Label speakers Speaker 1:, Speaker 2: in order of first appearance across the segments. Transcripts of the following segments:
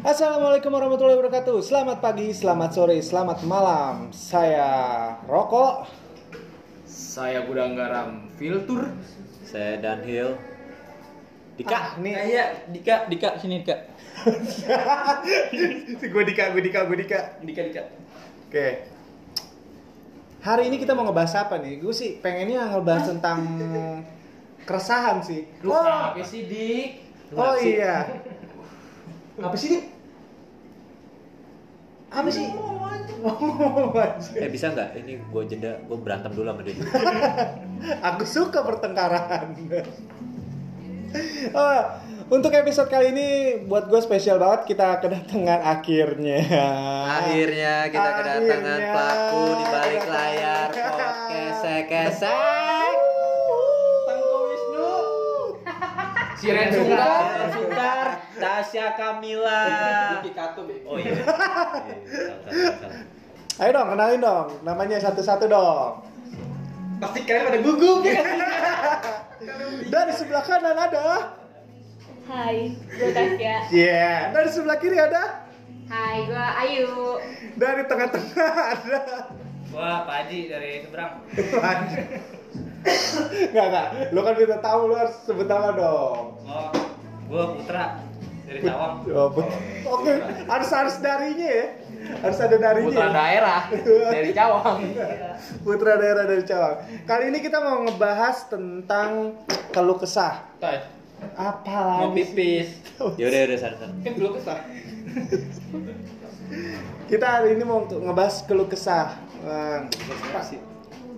Speaker 1: Assalamualaikum warahmatullahi wabarakatuh. Selamat pagi, selamat sore, selamat malam. Saya Rokok.
Speaker 2: Saya gudang garam filter.
Speaker 3: Saya Danhill.
Speaker 1: Dika, Ah, nih.
Speaker 3: Iya, Dika, Dika sini Dika.
Speaker 1: gue Dika, gue Dika, gue Dika.
Speaker 3: Dika, Dika.
Speaker 1: Oke. Hari ini kita mau ngebahas apa nih? Gue sih pengennya ngebahas tentang keresahan sih.
Speaker 2: Lu
Speaker 3: Nah,
Speaker 1: Oh,
Speaker 2: apa sih, Dik?
Speaker 1: oh iya.
Speaker 2: Apa sih, Dik?
Speaker 1: Apa sih? Oh, anjir.
Speaker 3: Eh bisa nggak? Ini gue jeda, gue berantem dulu sama dia.
Speaker 1: Aku suka pertengkaran. Oh, untuk episode kali ini buat gue spesial banget kita kedatangan akhirnya.
Speaker 3: Akhirnya kita kedatangan
Speaker 1: Akhirnya
Speaker 3: pelaku di balik
Speaker 1: kedatangan.
Speaker 3: layar podcast kesek.
Speaker 1: Tangko Wisnu.
Speaker 2: Si Ren Sungkar.
Speaker 3: Sungkar, Tasya Kamila.
Speaker 2: ya?
Speaker 3: Oh iya. Iya, salah, salah, salah.
Speaker 1: Ayo dong kenalin dong, namanya satu-satu dong.
Speaker 2: Pasti kalian pada gugup. ya kan?
Speaker 1: Dari sebelah kanan ada.
Speaker 4: Hai, gue Tasya.
Speaker 1: Yeah. Dari sebelah kiri ada.
Speaker 4: Hai, gue Ayu.
Speaker 1: Dari tengah-tengah ada.
Speaker 2: Wah, Pak Haji dari seberang.
Speaker 1: Lanjut. Enggak enggak, lu kan udah tahu lu harus sebut nama dong.
Speaker 2: Oh, gua Putra dari Cawang.
Speaker 1: Oh, bet- Oke, harus harus darinya ya. Harus ada darinya. ya.
Speaker 2: Putra daerah dari Cawang.
Speaker 1: Putra daerah dari Cawang. Kali ini kita mau ngebahas tentang keluh kesah.
Speaker 2: Tay,
Speaker 1: Apa lagi?
Speaker 2: pipis.
Speaker 3: Yaudah, yaudah, sana, sana.
Speaker 2: Kan dulu kesah.
Speaker 1: Kita hari ini mau ngebahas keluh kesah. Nah, Pak,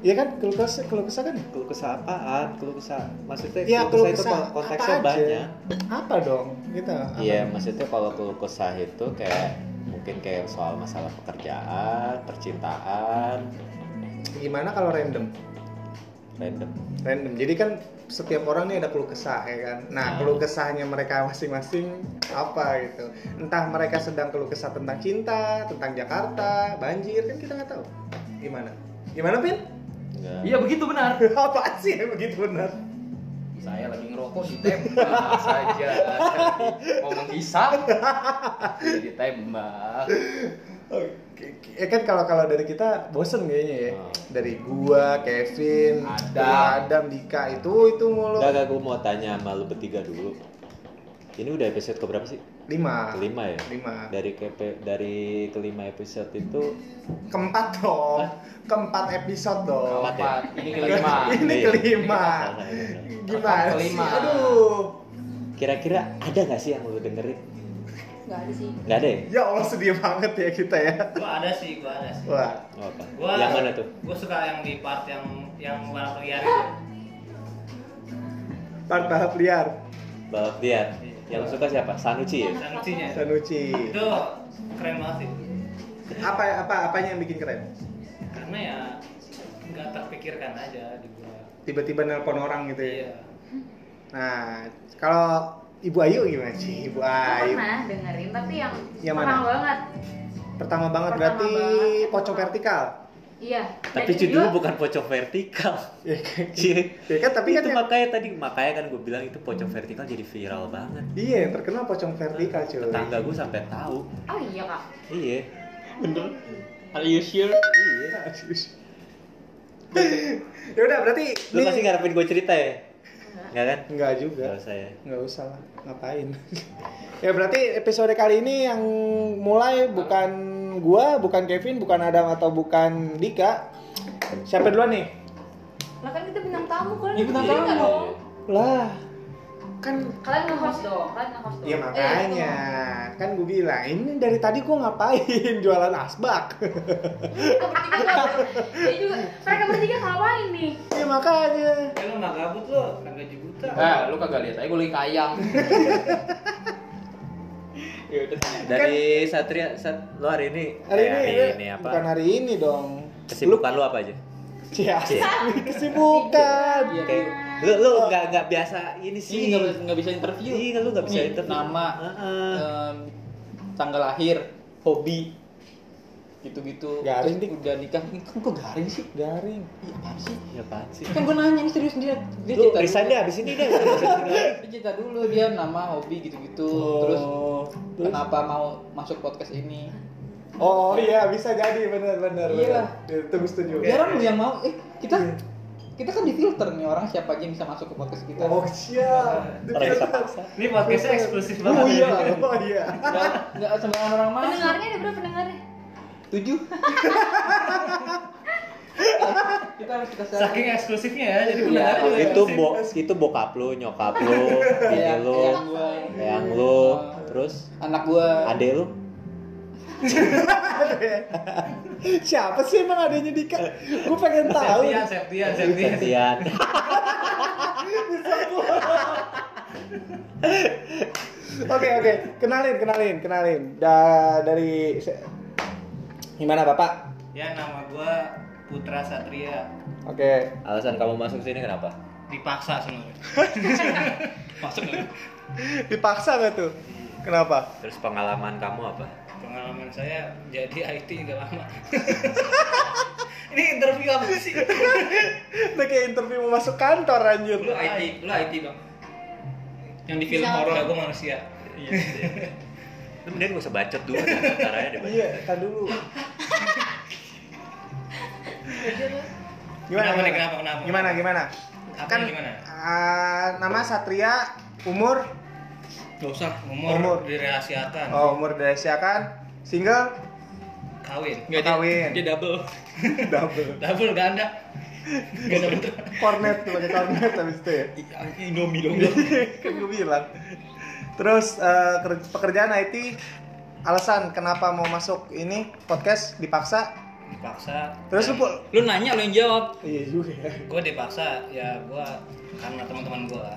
Speaker 1: Iya kan keluh kesah, keluh kesah kan?
Speaker 3: Keluh kesah apaan? Keluh kesah maksudnya
Speaker 1: Iya
Speaker 3: keluh
Speaker 1: keluh
Speaker 3: kesah itu
Speaker 1: kesah.
Speaker 3: konteksnya
Speaker 1: apa aja?
Speaker 3: banyak.
Speaker 1: Apa dong? Gitu. apa?
Speaker 3: Iya, maksudnya kalau keluh kesah itu kayak mungkin kayak soal masalah pekerjaan, percintaan,
Speaker 1: Gimana kalau random?
Speaker 3: random.
Speaker 1: Random. Jadi kan setiap orang nih ada keluh kesah ya kan. Nah,
Speaker 3: Nah.
Speaker 1: keluh kesahnya mereka masing-masing apa gitu. Entah mereka sedang keluh kesah tentang cinta, tentang Jakarta, banjir kan kita nggak tahu. Gimana? Gimana Pin?
Speaker 3: Enggak.
Speaker 2: Iya begitu benar.
Speaker 1: Apaan sih yang begitu benar?
Speaker 2: Saya lagi ngerokok ditembak saja. Mau menghisap jadi ditembak.
Speaker 1: Oke, ya kan kalau kalau dari kita bosen kayaknya ya.
Speaker 3: Oh.
Speaker 1: Dari gua, Kevin,
Speaker 2: Adam.
Speaker 1: dari Adam, Dika itu itu mulu.
Speaker 3: Enggak, enggak, gue mau tanya sama lu bertiga dulu. Ini udah episode keberapa sih?
Speaker 1: Lima.
Speaker 3: Kelima ya?
Speaker 1: Ah. Lima.
Speaker 3: Dari kepe, dari kelima episode itu
Speaker 1: Keempat dong. Keempat episode dong.
Speaker 3: Keempat.
Speaker 2: Keempat, ya? ini kelima.
Speaker 1: Ini
Speaker 3: Iya.
Speaker 1: kelima.
Speaker 3: nah,
Speaker 1: Gimana
Speaker 2: Keempat,
Speaker 1: sih?
Speaker 2: kelima.
Speaker 1: Aduh.
Speaker 3: kira-kira ada nggak sih yang lu dengerin?
Speaker 4: Gak ada sih.
Speaker 3: Nggak ada ya?
Speaker 1: Ya Allah sedih banget ya kita ya.
Speaker 5: gua ada sih gua ada sih
Speaker 1: Wah.
Speaker 3: Oh, apa?
Speaker 5: gua
Speaker 3: Yang mana tuh?
Speaker 5: gua suka yang di part yang yang balap liar itu
Speaker 1: Part balap liar.
Speaker 3: Balap liar. Yang lu suka siapa? Sanuci ya?
Speaker 5: dan lucunya
Speaker 1: Sanuci.
Speaker 5: itu keren banget sih
Speaker 1: Apa apa apanya yang bikin keren?
Speaker 5: karena ya nggak terpikirkan aja di gua
Speaker 1: Tiba-tiba nelpon orang gitu ya.
Speaker 5: iya
Speaker 1: Nah, kalau Ibu Ayu gimana sih? Ibu Ayu.
Speaker 4: pernah dengerin, tapi yang
Speaker 1: Yang
Speaker 4: kurang
Speaker 1: mana?
Speaker 4: banget.
Speaker 1: Pertama banget
Speaker 4: Pertama
Speaker 1: berarti
Speaker 4: banget.
Speaker 1: pocong vertikal.
Speaker 4: Iya.
Speaker 3: Tapi
Speaker 4: Dan
Speaker 3: judulnya
Speaker 4: juga-
Speaker 3: bukan pocong vertikal.
Speaker 1: Ya kan?
Speaker 3: Cie.
Speaker 1: Ya kan, tapi kan
Speaker 3: itu
Speaker 1: yang-
Speaker 3: makanya tadi makanya kan gue bilang itu pocong vertikal jadi viral banget.
Speaker 1: Iya, yang terkenal pocong vertikal cuy.
Speaker 3: Tetangga gue sampai tahu.
Speaker 4: Oh iya kak.
Speaker 3: Iya.
Speaker 2: Bener. Are you sure?
Speaker 3: Iya.
Speaker 1: ya udah berarti
Speaker 3: Lu
Speaker 1: ini-
Speaker 3: pasti ngarepin gue cerita ya? Enggak kan?
Speaker 1: Enggak juga.
Speaker 3: Enggak usah ya.
Speaker 1: Enggak usah lah, ngapain. ya berarti episode kali ini yang mulai bukan gua, bukan Kevin, bukan Adam atau bukan Dika. Siapa duluan nih?
Speaker 4: Lah kan kita bintang tamu, kalian
Speaker 2: Iya, bintang
Speaker 4: dengerin nggak
Speaker 2: tamu.
Speaker 4: dong?
Speaker 1: Lah, kan
Speaker 4: Kalian nge-host dong, kalian nge-host dong.
Speaker 1: Ya makanya,
Speaker 4: Eh,
Speaker 1: kan gue bilang ini dari tadi gue ngapain jualan asbak.
Speaker 4: itu dong. Mereka bertiga nggak- Dia juga, mereka bertiga ngapain nih?
Speaker 1: ya makanya.
Speaker 5: ya lu nggak gabut lo nggak gaji buta
Speaker 1: Ah.
Speaker 2: Eh, lu kagak lihat aja gue lagi kayang. ya udah.
Speaker 3: Dari Satria, Sat, lo hari ini
Speaker 1: Hari
Speaker 3: eh,
Speaker 1: ini,
Speaker 3: hari
Speaker 1: eh,
Speaker 3: ini apa?
Speaker 1: bukan hari ini dong.
Speaker 3: Kesibukan lo apa aja?
Speaker 1: Cia, kesibukan.
Speaker 2: Iya,
Speaker 3: Kayak lo lo nggak nggak biasa ini
Speaker 2: Ini
Speaker 3: sih.
Speaker 2: nggak bisa- nggak bisa interview.
Speaker 3: Iya, lu nggak bisa
Speaker 2: Nih,
Speaker 3: interview.
Speaker 2: Nama,
Speaker 3: Heeh.
Speaker 2: em, tanggal lahir, hobi. gitu-gitu
Speaker 1: Garing,
Speaker 2: Terus
Speaker 1: Dik.
Speaker 2: udah nikah ini kan kok garing sih
Speaker 1: Garing.
Speaker 2: iya apaan sih
Speaker 3: Ya apaan sih?
Speaker 2: kan gue nanya ini serius dia dia
Speaker 1: Lu
Speaker 2: cerita
Speaker 1: resign
Speaker 2: dulu.
Speaker 1: deh abis ini deh. nggak bisa disini lagi.
Speaker 2: dia cerita dulu dia nama hobi gitu-gitu terus
Speaker 1: Oh, terus?
Speaker 2: kenapa mau masuk podcast ini
Speaker 1: Oh iya bisa jadi bener bener.
Speaker 2: Iya.
Speaker 1: bener. Itu gue setuju.
Speaker 2: jarang lu yang mau eh kita
Speaker 1: Iya.
Speaker 2: kita kan di filter nih orang siapa aja yang bisa masuk ke podcast kita
Speaker 1: Oh siap.
Speaker 3: Orang kita paksa.
Speaker 5: Ini podcastnya eksklusif banget. ya.
Speaker 1: Oh iya. Oh iya.
Speaker 2: nggak nggak sembarangan orang masuk
Speaker 4: Pendengarnya ada berapa pendengarnya?
Speaker 2: tujuh kita harus kita share
Speaker 5: Saking eksklusifnya ya, jadi
Speaker 2: Iya,
Speaker 5: pendengar juga
Speaker 3: Itu
Speaker 5: eksklusif.
Speaker 3: bo itu bokap lu, nyokap lu,
Speaker 1: Iya,
Speaker 3: bini
Speaker 2: Eyang-
Speaker 3: lu,
Speaker 2: eyang Iya, gua
Speaker 3: eyang lu, terus
Speaker 2: anak gua
Speaker 3: adek lu.
Speaker 1: iya. Siapa sih emang adanya Dika? Gue pengen tahu.
Speaker 5: Septian, Septian, Septian.
Speaker 3: Septian.
Speaker 1: Oke oke. Kenalin kenalin kenalin. Da dari se- gimana bapak?
Speaker 5: Ya nama gua Putra Satria.
Speaker 1: Oke.
Speaker 3: Alasan kamu masuk sini kenapa?
Speaker 5: Dipaksa sebenarnya. Masuk nggak?
Speaker 1: Dipaksa gak tuh? Kenapa?
Speaker 3: Terus pengalaman kamu apa?
Speaker 5: Pengalaman saya jadi IT udah lama. Ini interview apa sih?
Speaker 1: Udah kayak interview mau masuk kantor anjir.
Speaker 5: Lu IT, lu IT bang. Yang di film
Speaker 4: Bisa.
Speaker 5: horor aku manusia.
Speaker 3: Lu mending gak usah bacot dulu caranya deh bacot.
Speaker 1: Iya, kan dulu.
Speaker 4: Jujur lu.
Speaker 1: Gimana?
Speaker 5: Kenapa
Speaker 1: gimana?
Speaker 5: nih, kenapa, kenapa?
Speaker 1: Gimana gimana?
Speaker 5: Apanya
Speaker 1: Kan
Speaker 5: gimana?
Speaker 1: ah, nama Satria, umur
Speaker 5: Gak usah umur,
Speaker 1: Umur.
Speaker 5: dirahasiakan.
Speaker 1: oh, umur dari Asia kan single
Speaker 5: Kawin.
Speaker 1: Nggak, dia- Kawin. dia
Speaker 5: double.
Speaker 1: double
Speaker 5: double ganda. Ganda betul.
Speaker 1: cornet tuh pakai cornet habis itu ya
Speaker 5: Indomie dong.
Speaker 1: kan gue bilang terus eh, ker- pekerjaan IT alasan kenapa mau masuk ini podcast dipaksa
Speaker 5: Dipaksa.
Speaker 1: Terus lu, Pul?
Speaker 5: lu nanya lu yang jawab.
Speaker 1: iya juga ya
Speaker 5: Gue dipaksa ya gue karena teman-teman gue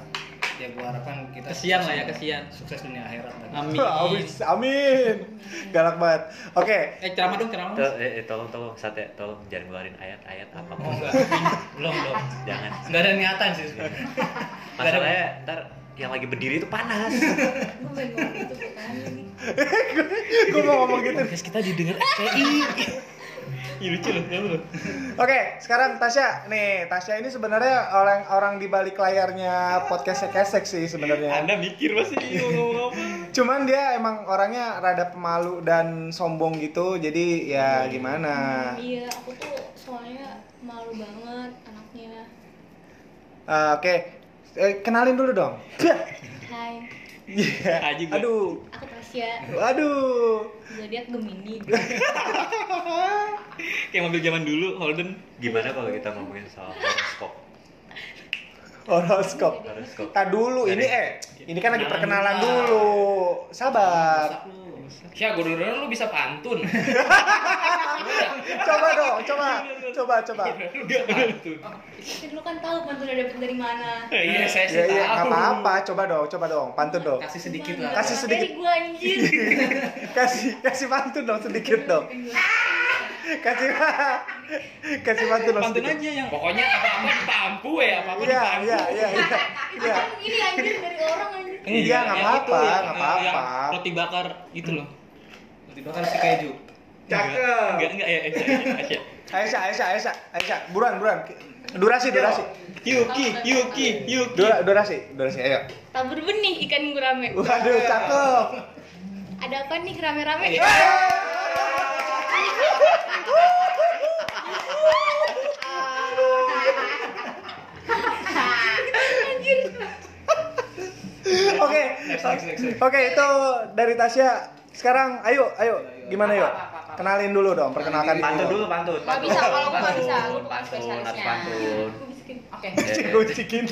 Speaker 5: ya gue harapkan kita
Speaker 2: Kesian lah
Speaker 5: sukses-
Speaker 2: ya, kesian.
Speaker 5: sukses dunia akhirat
Speaker 2: amin
Speaker 1: amin amin galak banget oke
Speaker 2: eh ceramah dong ceramah
Speaker 3: Tol- eh, eh, tolong tolong sate tolong jangan ngeluarin ayat-ayat
Speaker 5: oh
Speaker 3: apapun
Speaker 5: enggak belum belum
Speaker 3: jangan
Speaker 5: nggak ada niatan sih sebenarnya. Nggak ada-
Speaker 3: masalahnya ntar yang lagi berdiri itu panas
Speaker 4: Gue main ngomong gitu pertanyaan ini.
Speaker 1: gue mau ngomong gitu
Speaker 3: podcast kita didengar FPI
Speaker 5: Ih, lucu loh belum belum
Speaker 1: Oke, sekarang Tasya. Nih, Tasya ini sebenarnya orang orang di balik layarnya podcast kesek sih sebenarnya.
Speaker 5: Eh, mikir masih mau ngomong apa
Speaker 1: Cuman dia emang orangnya rada pemalu dan sombong gitu. Jadi
Speaker 5: Iya,
Speaker 1: ya gimana?
Speaker 4: Hmm, Iya, aku tuh soalnya malu banget anaknya.
Speaker 1: Eh, Oke, Eh, kenalin dulu dong.
Speaker 4: Hai,
Speaker 1: Iya.
Speaker 5: Aji gua.
Speaker 1: Aduh.
Speaker 4: aku Tasya.
Speaker 1: Aduh.
Speaker 4: Zodiak Gemini.
Speaker 5: kayak mobil zaman dulu Holden
Speaker 3: gimana kalau kita ngomongin soal horoskop
Speaker 1: Horoskop.
Speaker 3: horoskop
Speaker 1: Kita dulu ini eh ini kan lagi perkenalan dulu. Sabar.
Speaker 5: Ya, gue dulu lu bisa pantun.
Speaker 1: Coba dong, coba. Coba, coba.
Speaker 5: Lu bisa pantun.
Speaker 4: Kan lu kan tahu pantunnya dapat dari mana.
Speaker 5: Iya,
Speaker 1: Iya,
Speaker 5: saya sih
Speaker 1: iya, nggak
Speaker 5: tahu.
Speaker 1: apa-apa. Coba dong, coba dong. Pantun dong.
Speaker 5: Kasih sedikit lah.
Speaker 1: Kasih sedikit.
Speaker 4: Dari gua anjir.
Speaker 1: Kasih kasih pantun dong sedikit dong.
Speaker 4: Ah,
Speaker 1: Kasih kasih pantun dong
Speaker 5: pantun
Speaker 1: sedikit.
Speaker 5: aja Iya, yang pokoknya apa-apa dipampu ya, apa-apa
Speaker 1: Iya,
Speaker 5: dipampu.
Speaker 1: iya, iya, iya.
Speaker 4: Itu
Speaker 1: Iya.
Speaker 4: kan ini anjir dari orang anjir.
Speaker 1: Iya, nggak
Speaker 5: yang itu,
Speaker 1: apa-apa,
Speaker 5: yang- eh,
Speaker 1: nggak
Speaker 5: yang- yang
Speaker 1: apa-apa.
Speaker 5: Roti bakar itu loh. Roti bakar si keju.
Speaker 1: Cakep.
Speaker 5: Enggak, enggak ya, Aisyah, Aisyah, Aisyah.
Speaker 1: Aisyah, Aisyah, Aisyah, Aisyah, buruan, buruan. Durasi, durasi.
Speaker 5: Yuki, Yuki, Yuki.
Speaker 1: Dura, durasi, durasi, ayo.
Speaker 4: Tabur benih ikan gurame.
Speaker 1: Waduh, cakep.
Speaker 4: Ada apa nih rame-rame?
Speaker 5: Iya.
Speaker 4: Anjir.
Speaker 1: Oke,
Speaker 5: Next, next, next, next.
Speaker 1: oke itu dari Tasya. Sekarang, ayo, ayo, gimana yuk? Kenalin dulu dong, perkenalkan
Speaker 3: pantun dulu pantun
Speaker 4: Gak bisa kalau gua gak bisa, gua bukan
Speaker 3: pantun
Speaker 4: spesialisnya. Iya,
Speaker 3: harus pantun
Speaker 4: Gua bisikin. Oke.
Speaker 3: Ya, ya.
Speaker 1: Gue cikin.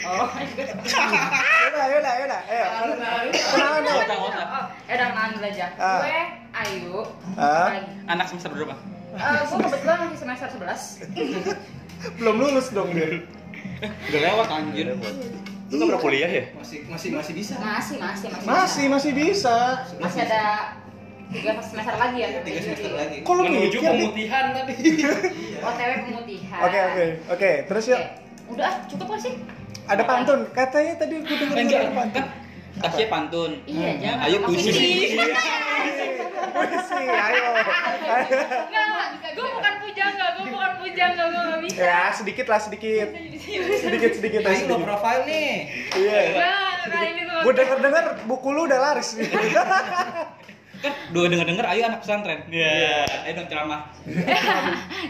Speaker 4: Oh.
Speaker 1: Yaudah, yaudah, yaudah, ayo. Kenalan dulu.
Speaker 4: Oh, ya udah kenalan dulu aja.
Speaker 1: Ah.
Speaker 4: Gue Ayu.
Speaker 1: Ah.
Speaker 4: Lagi.
Speaker 5: Anak semester berapa?
Speaker 4: Eh, gue kebetulan masih semester 11
Speaker 1: Belum lulus dong dia.
Speaker 5: Udah lewat anjir.
Speaker 3: lu nggak pernah kuliah ya
Speaker 5: Masih masih masih bisa.
Speaker 4: Masih, masih, masih
Speaker 1: Masih, masih bisa.
Speaker 4: Masih, masih ada tiga semester lagi ya
Speaker 5: Tiga semester lagi.
Speaker 1: Kok lu
Speaker 5: Menuju
Speaker 1: mikir, Dik?
Speaker 5: pemutihan tadi.
Speaker 4: OTW pemutihan
Speaker 1: ya. Oke, oke, oke. Terus
Speaker 4: Oke.
Speaker 1: yuk,
Speaker 4: Udah, cukup gak sih?
Speaker 1: ada pantun. Katanya tadi gue denger ada
Speaker 5: Anjir,
Speaker 1: pantun.
Speaker 5: kan Asia pantun.
Speaker 4: Iya,
Speaker 2: Hmm.
Speaker 4: jangan.
Speaker 5: Ayo
Speaker 4: Maksudnya-
Speaker 5: puisi.
Speaker 1: Puisi, ayo.
Speaker 4: Enggak, enggak. Gue bukan pujangga, gue bukan pujangga, gue gak bisa.
Speaker 1: Ya, sedikit lah sedikit. Sedikit sedikit aja.
Speaker 5: Ayo lo
Speaker 1: sedikit.
Speaker 5: profile nih.
Speaker 1: Iya.
Speaker 4: Enggak, kali ini gue.
Speaker 1: Gue denger dengar buku lu udah laris nih.
Speaker 5: Kan dua denger dengar ayo anak pesantren. Iya. Ayo dong ceramah.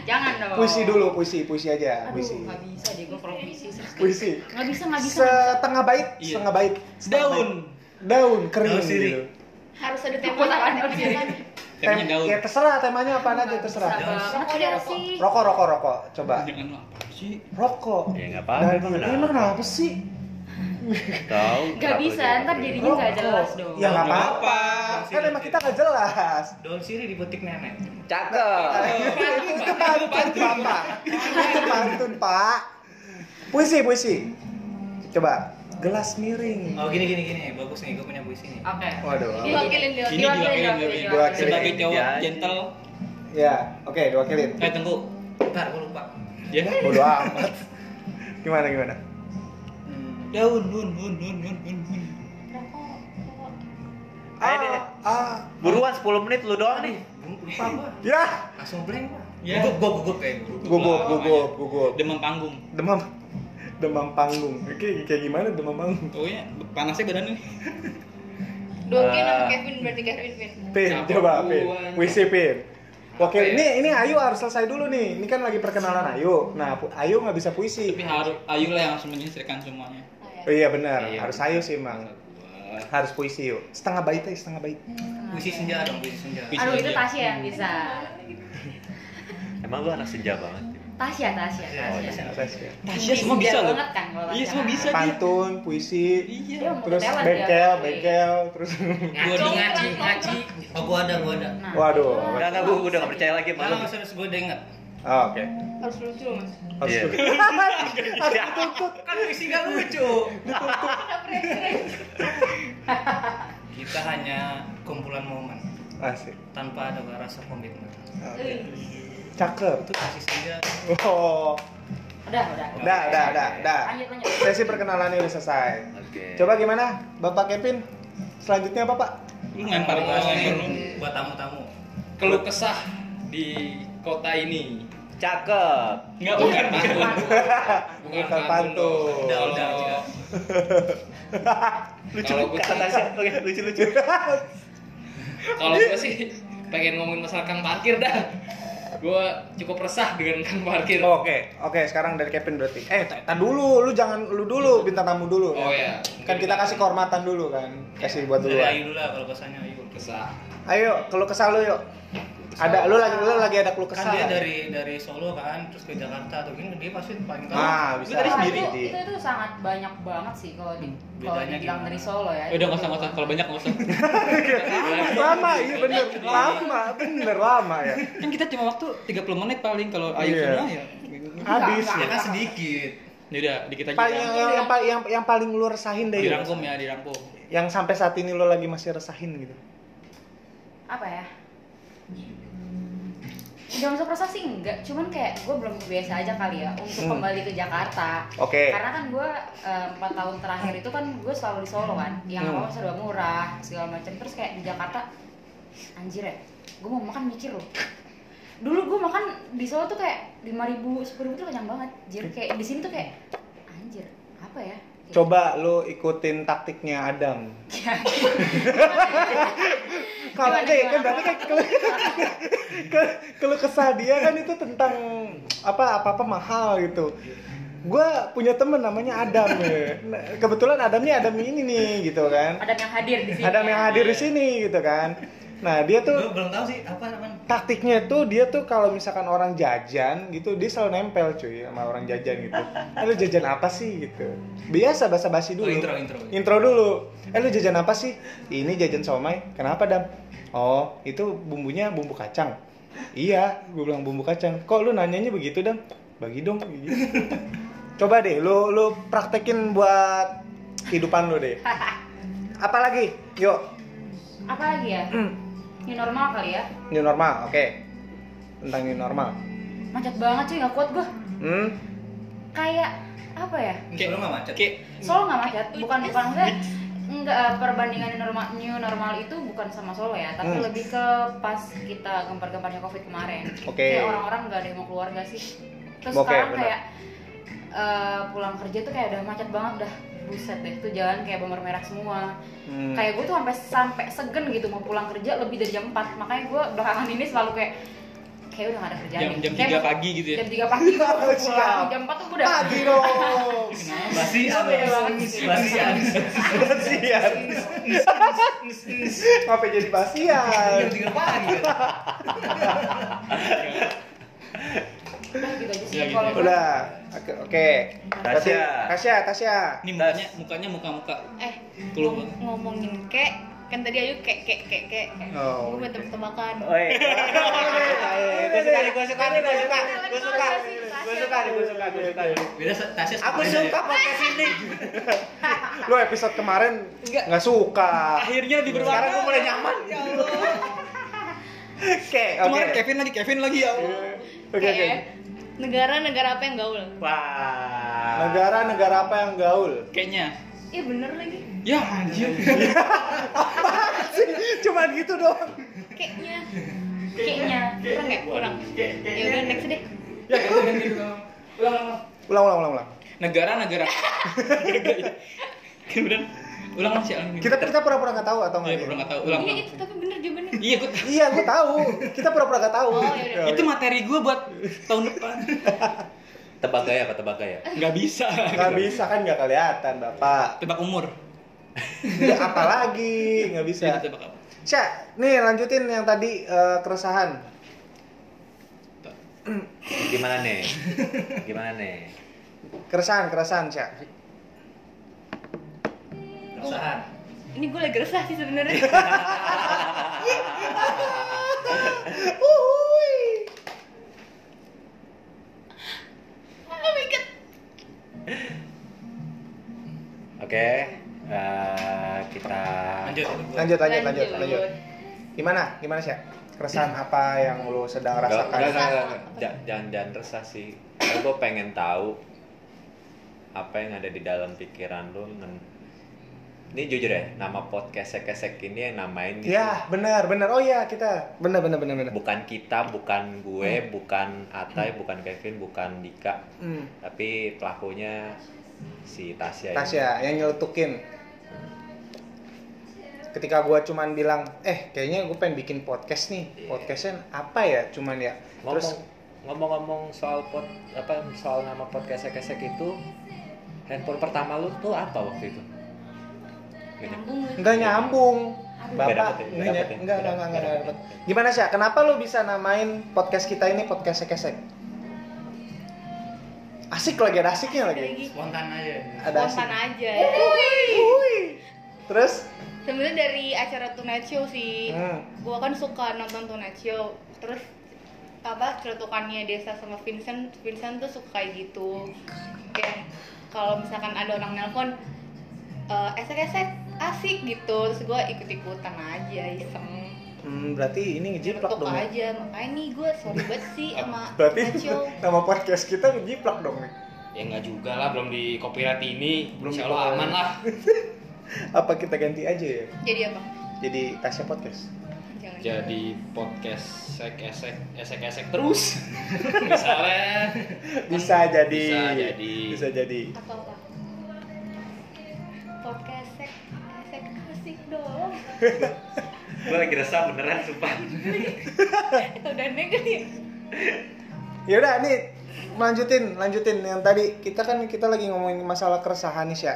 Speaker 4: Jangan dong.
Speaker 5: Oh.
Speaker 1: Puisi dulu, puisi, puisi aja,
Speaker 4: Aduh,
Speaker 1: puisi.
Speaker 4: nggak bisa deh gue kalau puisi.
Speaker 1: Puisi.
Speaker 4: Nggak bisa, nggak bisa. nggak bisa.
Speaker 1: Setengah bait,
Speaker 5: Iya.
Speaker 1: setengah bait. setengah
Speaker 5: Daun.
Speaker 1: bait. Daun kering
Speaker 5: Daun sirih.
Speaker 1: gitu.
Speaker 4: Harus ada tempat apaan
Speaker 5: Temanya daun.
Speaker 1: Ya terserah temanya apaan aja terserah.
Speaker 4: Rokok dia rokok.
Speaker 1: Rokok, rokok, rokok. Coba.
Speaker 5: Jangan lo apa sih?
Speaker 1: Rokok. Eh,
Speaker 3: Ya nggak apa-apa, emang kenapa?
Speaker 1: Emang kenapa sih?
Speaker 3: Tahu?
Speaker 4: Gak bisa, ntar jadinya gak
Speaker 1: Rokok.
Speaker 4: jelas dong.
Speaker 1: Ya nggak
Speaker 5: Nggak
Speaker 1: apa-apa.
Speaker 5: apa-apa.
Speaker 1: Kan emang kita nggak jelas.
Speaker 5: Daun sirih di butik nenek.
Speaker 1: Nah, itu pantun, Bapak. Itu pantun, Pak. Puisi, puisi. Coba. Gelas miring.
Speaker 5: Oh gini gini gini, bagus nih, gue punya puisi nih.
Speaker 4: Oke.
Speaker 1: Waduh.
Speaker 4: Diwakilin, diwakilin,
Speaker 5: Ini diwakilin,
Speaker 4: diwakilin,
Speaker 1: diwakilin.
Speaker 4: diwakilin.
Speaker 5: Sebagai cowok
Speaker 3: Ya.
Speaker 5: gentle,
Speaker 1: Ya, oke, diwakilin.
Speaker 5: eh tunggu, ntar gue lupa.
Speaker 4: Iya.
Speaker 5: Ya.
Speaker 1: Bodoh amat. Gimana, gimana?
Speaker 5: Daun, nun, nun, nun, nun, nun, nun.
Speaker 4: Rokok, rokok.
Speaker 3: Ayo deh.
Speaker 1: ah.
Speaker 3: Buruan 10 menit lu doang nih.
Speaker 5: Lupa gua.
Speaker 1: Ya,
Speaker 5: Langsung blank gua.
Speaker 2: Ya.
Speaker 5: Gugup, gua gugup kayak gugup.
Speaker 1: gugup,
Speaker 5: Lah,
Speaker 1: gugup, gugup.
Speaker 5: Nah, makanya. Demam panggung.
Speaker 1: Demam. Demam panggung. Oke, kayak gimana demam panggung?
Speaker 5: Pokoknya panasnya badan nih.
Speaker 4: Dua Ken sama
Speaker 3: Ah.
Speaker 4: Kevin berarti Kevin Vin.
Speaker 1: Pin,
Speaker 5: Nah,
Speaker 1: coba Pin.
Speaker 5: buruan.
Speaker 1: Puisi Pin. Oke,
Speaker 5: Apa ya?
Speaker 1: ini ini Ayu harus selesai dulu nih. Ini kan lagi perkenalan Ayu. Nah, pu- Ayu nggak bisa puisi.
Speaker 5: Tapi harus Ayu lah yang harus menyisirkan semuanya.
Speaker 1: Oh, iya benar,
Speaker 5: Iya.
Speaker 1: harus Ayu sih, Mang.
Speaker 5: Wah.
Speaker 1: Harus puisi yuk. Setengah bait aja, setengah bait.
Speaker 4: Nah,
Speaker 5: Puisi senja dong, puisi senja.
Speaker 4: Aduh itu Tasya yang bisa.
Speaker 3: Emang lu anak senja banget.
Speaker 4: Tasya, Tasya,
Speaker 5: iya,
Speaker 4: Tasya.
Speaker 1: Atas ya.
Speaker 5: Oh, Tasya semua
Speaker 4: Biar
Speaker 5: bisa loh.
Speaker 4: banget kan kalau
Speaker 5: Iya
Speaker 4: Tasya.
Speaker 5: semua bisa dia.
Speaker 1: Pantun, puisi,
Speaker 5: Iya.
Speaker 4: Dia mau
Speaker 1: terus
Speaker 4: ketelan dia.
Speaker 1: bengkel, bengkel, terus
Speaker 5: Gua
Speaker 4: Ngaco,
Speaker 5: udah ngaji,
Speaker 4: ngaco.
Speaker 5: ngaji. Oh gua ada, gua ada.
Speaker 4: Nah,
Speaker 1: Waduh.
Speaker 4: itu
Speaker 3: Enggak, enggak, gue udah gak percaya lagi
Speaker 5: Kalau
Speaker 3: malu.
Speaker 5: serius gua udah inget.
Speaker 1: Ah, oke.
Speaker 4: Harus lucu loh, Mas.
Speaker 1: Harus
Speaker 3: Iya.
Speaker 1: dulu. Harus dituntut.
Speaker 5: Kan puisi gak lucu. Kita hanya kumpulan momen
Speaker 1: Asik.
Speaker 5: tanpa ada rasa komitmen.
Speaker 1: Oke. Cakep.
Speaker 5: Itu puisi senja.
Speaker 1: Oh,
Speaker 4: Udah, udah.
Speaker 1: dah, dah, dah, dah.
Speaker 4: Lanjut, lanjut.
Speaker 1: Sesi perkenalannya udah selesai.
Speaker 3: Oke.
Speaker 1: Coba gimana, Bapak Kevin? Selanjutnya apa, Pak?
Speaker 5: Lu lempar
Speaker 4: Oh,
Speaker 5: gua
Speaker 4: iya.
Speaker 5: ini buat tamu-tamu.
Speaker 6: keluh kesah di kota ini
Speaker 3: cakep.
Speaker 6: nggak bukan pantun
Speaker 1: Bukan pantun.
Speaker 6: dong. Kalau-
Speaker 5: Udah, udah, udah.
Speaker 6: Lucu kalau gue
Speaker 3: Kata siapa? Oke, lucu-lucu.
Speaker 6: kalau gue sih pengen ngomongin masalah kang parkir dah gue cukup resah dengan kang parkir
Speaker 1: Oke, oke. Sekarang dari Kevin berarti. Eh, tak dulu, lu jangan lu dulu, bintang tamu dulu.
Speaker 6: Oh, iya.
Speaker 1: Kan kita kasih kehormatan dulu kan, kasih buat
Speaker 5: Dari Ayu
Speaker 1: duluan.
Speaker 5: dulu lah kalau kesannya Ayu.
Speaker 6: kesah
Speaker 1: Ayo, kalau kesal lu yuk. Ada, lu lagi, lu lagi ada keluh
Speaker 5: Kan
Speaker 1: kesal.
Speaker 5: dia
Speaker 1: kan?
Speaker 5: dari dari Solo kan, terus ke Jakarta atau gini dia pasti paling tahu.
Speaker 1: Ah, bisa.
Speaker 5: Gua tadi
Speaker 4: Wah,
Speaker 5: sendiri.
Speaker 4: itu,
Speaker 1: Di-
Speaker 4: itu, itu sangat banyak banget sih kalau di
Speaker 5: Hmm,
Speaker 4: kalau
Speaker 5: bedanya
Speaker 4: dibilang
Speaker 5: gimana?
Speaker 4: dari Solo ya.
Speaker 6: udah nggak usah nggak usah kalau banyak nggak usah
Speaker 1: Iya. lama, iya bener, lama, bener lama ya.
Speaker 2: Iya,
Speaker 6: kan kita cuma waktu 30 menit paling kalau ayu
Speaker 1: Iya.
Speaker 6: semua ya
Speaker 1: Habis
Speaker 4: iya,
Speaker 5: Ya
Speaker 1: ya.
Speaker 5: kan sedikit.
Speaker 6: ya udah dikit aja
Speaker 1: Paling
Speaker 6: dah.
Speaker 1: yang, yang, yang, yang, yang paling lu resahin deh Yul.
Speaker 6: dirangkum ya dirangkum
Speaker 1: Yang sampai saat ini lu lagi masih resahin gitu.
Speaker 4: Apa ya? Udah masuk proses sih enggak, cuman kayak gue belum kebiasa aja kali ya untuk
Speaker 1: Hmm.
Speaker 4: kembali ke Jakarta.
Speaker 1: Oke.
Speaker 4: Karena kan gue empat tahun terakhir itu kan gue selalu di Solo kan, yang
Speaker 1: Hmm.
Speaker 4: awal serba murah segala macam. Terus kayak di Jakarta, anjir ya, gue mau makan mikir loh. Dulu gue makan di Solo tuh kayak lima ribu, sepuluh ribu tuh kenyang banget. Jadi kayak di sini tuh kayak anjir apa ya?
Speaker 1: Coba lu ikutin taktiknya Adam. Kalau
Speaker 4: Iya.
Speaker 1: kayak
Speaker 4: Gimana,
Speaker 1: kan
Speaker 4: gimana?
Speaker 1: berarti kan kalau kalau kesah dia kan itu tentang apa apa apa mahal gitu. Gua punya temen namanya Adam ya. Nah, Kebetulan Adamnya Adam ini nih gitu kan.
Speaker 4: Adam yang hadir di sini.
Speaker 1: Adam yang hadir di sini gitu kan. Nah dia tuh
Speaker 5: Gue belum tahu sih apa namanya.
Speaker 1: taktiknya tuh dia tuh kalau misalkan orang jajan gitu dia selalu nempel cuy sama orang jajan gitu eh lu jajan apa sih gitu biasa basa basi dulu
Speaker 5: Oh, intro, intro.
Speaker 1: intro dulu eh lu jajan apa sih ini jajan somai kenapa dam oh itu bumbunya bumbu kacang iya gue bilang bumbu kacang kok lu nanyanya begitu dam bagi dong gitu. coba deh lu lu praktekin buat kehidupan lu deh apalagi yuk
Speaker 4: Apa lagi ya? Ini normal kali ya?
Speaker 1: Hmm. new normal oke tentang new normal
Speaker 4: Macet banget cuy, nggak kuat gue.
Speaker 1: Hmm,
Speaker 4: Kayak ya? apa ya?
Speaker 5: Kayak lu enggak macet.
Speaker 6: kayak
Speaker 4: Solo nggak macet, bukan bukan maksudnya Enggak, eh, perbandingan normal new normal itu bukan sama Solo ya, tapi
Speaker 1: Hmm.
Speaker 4: lebih ke pas kita gembar-gembarnya Covid kemarin.
Speaker 1: Oke.
Speaker 4: Kayak orang-orang nggak ada yang mau keluarga sih. Terus
Speaker 1: Oke,
Speaker 4: sekarang
Speaker 1: benar.
Speaker 4: kayak eh, pulang kerja tuh kayak udah macet banget dah. Buset deh, tuh jalan kayak bomber merah semua.
Speaker 1: Hmm.
Speaker 4: Kayak gue tuh sampai sampai segen gitu mau pulang kerja lebih dari jam 4. Makanya gue belakangan ini selalu kayak kayak udah gak ada kerjaan.
Speaker 6: jam
Speaker 4: nih.
Speaker 6: jam
Speaker 4: Kayak
Speaker 6: tiga
Speaker 4: mau-
Speaker 6: pagi gitu ya
Speaker 4: Jam 3 pagi gue baru pulang.
Speaker 1: Siap.
Speaker 4: Jam 4 tuh gue udah
Speaker 1: Pagi dong.
Speaker 5: Basi, ya.
Speaker 4: Oh, beda banget sih.
Speaker 5: basian.
Speaker 1: Basian. Ngapain jadi basian?
Speaker 5: Jam tiga pagi.
Speaker 4: Udah gitu aja sih.
Speaker 6: Ya, gitu.
Speaker 4: Kalau gue-
Speaker 1: Udah. Oke. oke. Berarti-
Speaker 3: Tasya.
Speaker 1: Tasya, Tasya.
Speaker 6: ini mukanya mukanya muka muka
Speaker 7: eh
Speaker 6: Tolong
Speaker 7: ngom- ngomongin kek kan tadi ayu kek kek kek kek
Speaker 1: Oh.
Speaker 7: gue buat tebak-tebakan
Speaker 3: Oi.
Speaker 1: Gue suka nih, gue suka nih, gue suka. Gue suka. Gue suka nih, gue suka, gue suka.
Speaker 5: Beda Tasya.
Speaker 1: Aku
Speaker 5: sepeda
Speaker 1: suka
Speaker 5: ya.
Speaker 1: podcast ini. Lo episode kemarin nggak suka.
Speaker 6: akhirnya lebih berwarna
Speaker 1: Sekarang gue mulai nyaman. Oke, oke.
Speaker 6: kemarin Kevin lagi Kevin lagi ya Allah.
Speaker 1: Oke, oke.
Speaker 7: Kayak negara-negara apa yang gaul
Speaker 3: Wah.
Speaker 1: Negara-negara apa yang gaul?
Speaker 6: kayaknya
Speaker 7: iya bener lagi
Speaker 6: ya anjir
Speaker 1: Cuman gitu doang.
Speaker 7: keknya
Speaker 4: Kayaknya.
Speaker 7: kurang nggak kurang ya udah next deh
Speaker 6: Ya,
Speaker 1: Ulang, ulang, ulang, ulang.
Speaker 6: negara negara kemudian ulang masih ulang
Speaker 1: Kita kita pura-pura nggak tahu atau nggak?
Speaker 6: Iya, pura-pura nggak tahu. Ulang,
Speaker 7: iya
Speaker 6: ulang.
Speaker 7: itu tapi bener jawabannya
Speaker 6: iya gua tahu.
Speaker 1: Iya, gue tahu. Kita pura-pura nggak tahu.
Speaker 7: Oh, iya, iya.
Speaker 1: Oke.
Speaker 6: itu materi gue buat tahun depan
Speaker 3: Tebak gaya apa tebak gaya?
Speaker 6: nggak bisa
Speaker 1: nggak bisa kan nggak kelihatan bapak.
Speaker 6: tebak umur
Speaker 1: Ya, apa lagi nggak bisa.
Speaker 6: Iya, tebak apa
Speaker 1: Sya, nih lanjutin yang tadi eh, keresahan.
Speaker 3: Gimana nih? Gimana nih?
Speaker 1: Keresahan, keresahan, Sya.
Speaker 5: Keresahan.
Speaker 7: ini gue lagi resah sih sebenarnya
Speaker 1: Uhuy.
Speaker 7: oh my god
Speaker 3: Oke. eh, kita
Speaker 6: lanjut
Speaker 1: Lanjut, lanjut, lanjut,
Speaker 7: Lanjut.
Speaker 1: lanjut. Gimana? Gimana, Sya? Keresahan apa yang lo sedang
Speaker 3: Enggak, enggak,
Speaker 1: rasakan?
Speaker 3: enggak, enggak, enggak. Ja- Jangan, jangan resah sih. Karena gue pengen tahu apa yang ada di dalam pikiran lu. ngen- Ini jujur ya, nama podcast kesek-kesek ini yang namain gitu.
Speaker 1: Ya, benar, benar. Oh iya, kita. Benar, benar, benar, benar.
Speaker 3: Bukan kita, bukan gue, bukan Atai, bukan Kevin, bukan Dika.
Speaker 1: Hmm.
Speaker 3: Tapi pelakunya si Tasya. ini.
Speaker 1: Tasya yang nyeletukin ketika gua cuman bilang eh kayaknya gue pengen bikin podcast nih
Speaker 3: Iya.
Speaker 1: podcastnya apa ya cuman ya
Speaker 3: Ngomong,
Speaker 1: terus
Speaker 3: ngomong-ngomong soal pod, apa soal nama podcast kesek-kesek itu, handphone pertama lu tuh apa waktu itu? Gak nyam-
Speaker 7: nyambung gue.
Speaker 1: nggak nyambung
Speaker 3: Iya. Nggak
Speaker 1: bapak
Speaker 3: dapet ya,
Speaker 1: nggak nggak
Speaker 3: nggak dapet ya, nggak
Speaker 1: nggak
Speaker 3: dapet,
Speaker 1: nggak
Speaker 3: nggak
Speaker 1: dapet.
Speaker 3: dapet. ya.
Speaker 1: gimana sih kenapa lo bisa namain podcast kita ini podcast kesek asik lagi ada asiknya lagi
Speaker 7: lagi
Speaker 5: Spontan aja.
Speaker 1: ada asik
Speaker 7: spontan aja ya.
Speaker 1: Wuih. terus
Speaker 7: sebenarnya dari acara Tonight Show sih
Speaker 1: Hmm.
Speaker 7: gue kan suka nonton Tonight Show terus apa celutukannya Desa sama Vincent Vincent tuh suka kayak gitu kayak kalau misalkan ada orang nelpon eh esek esek asik gitu terus gue ikut ikutan aja iseng
Speaker 1: hmm, berarti ini ngejiplak
Speaker 7: Tok
Speaker 1: dong ya?
Speaker 7: aja makanya nih gue sorry banget sih sama
Speaker 1: berarti
Speaker 7: Tonight Show
Speaker 1: nama podcast kita ngejiplak dong nih
Speaker 6: ya nggak juga lah belum di copyright ini
Speaker 1: Belum di
Speaker 6: belum Insya Allah
Speaker 1: copyright.
Speaker 6: aman lah
Speaker 1: apa kita ganti aja ya
Speaker 7: jadi apa
Speaker 1: jadi Tasya podcast
Speaker 7: jangan
Speaker 6: jadi podcast esek esek esek esek terus misalnya
Speaker 1: bisa jadi
Speaker 6: bisa jadi
Speaker 1: bisa jadi
Speaker 7: apa apa podcast sek sek asik dong
Speaker 3: gue lagi resah beneran sumpah
Speaker 7: udah neng kali ya?
Speaker 1: ya udah nih lanjutin lanjutin yang tadi kita kan kita lagi ngomongin masalah keresahan nih Sya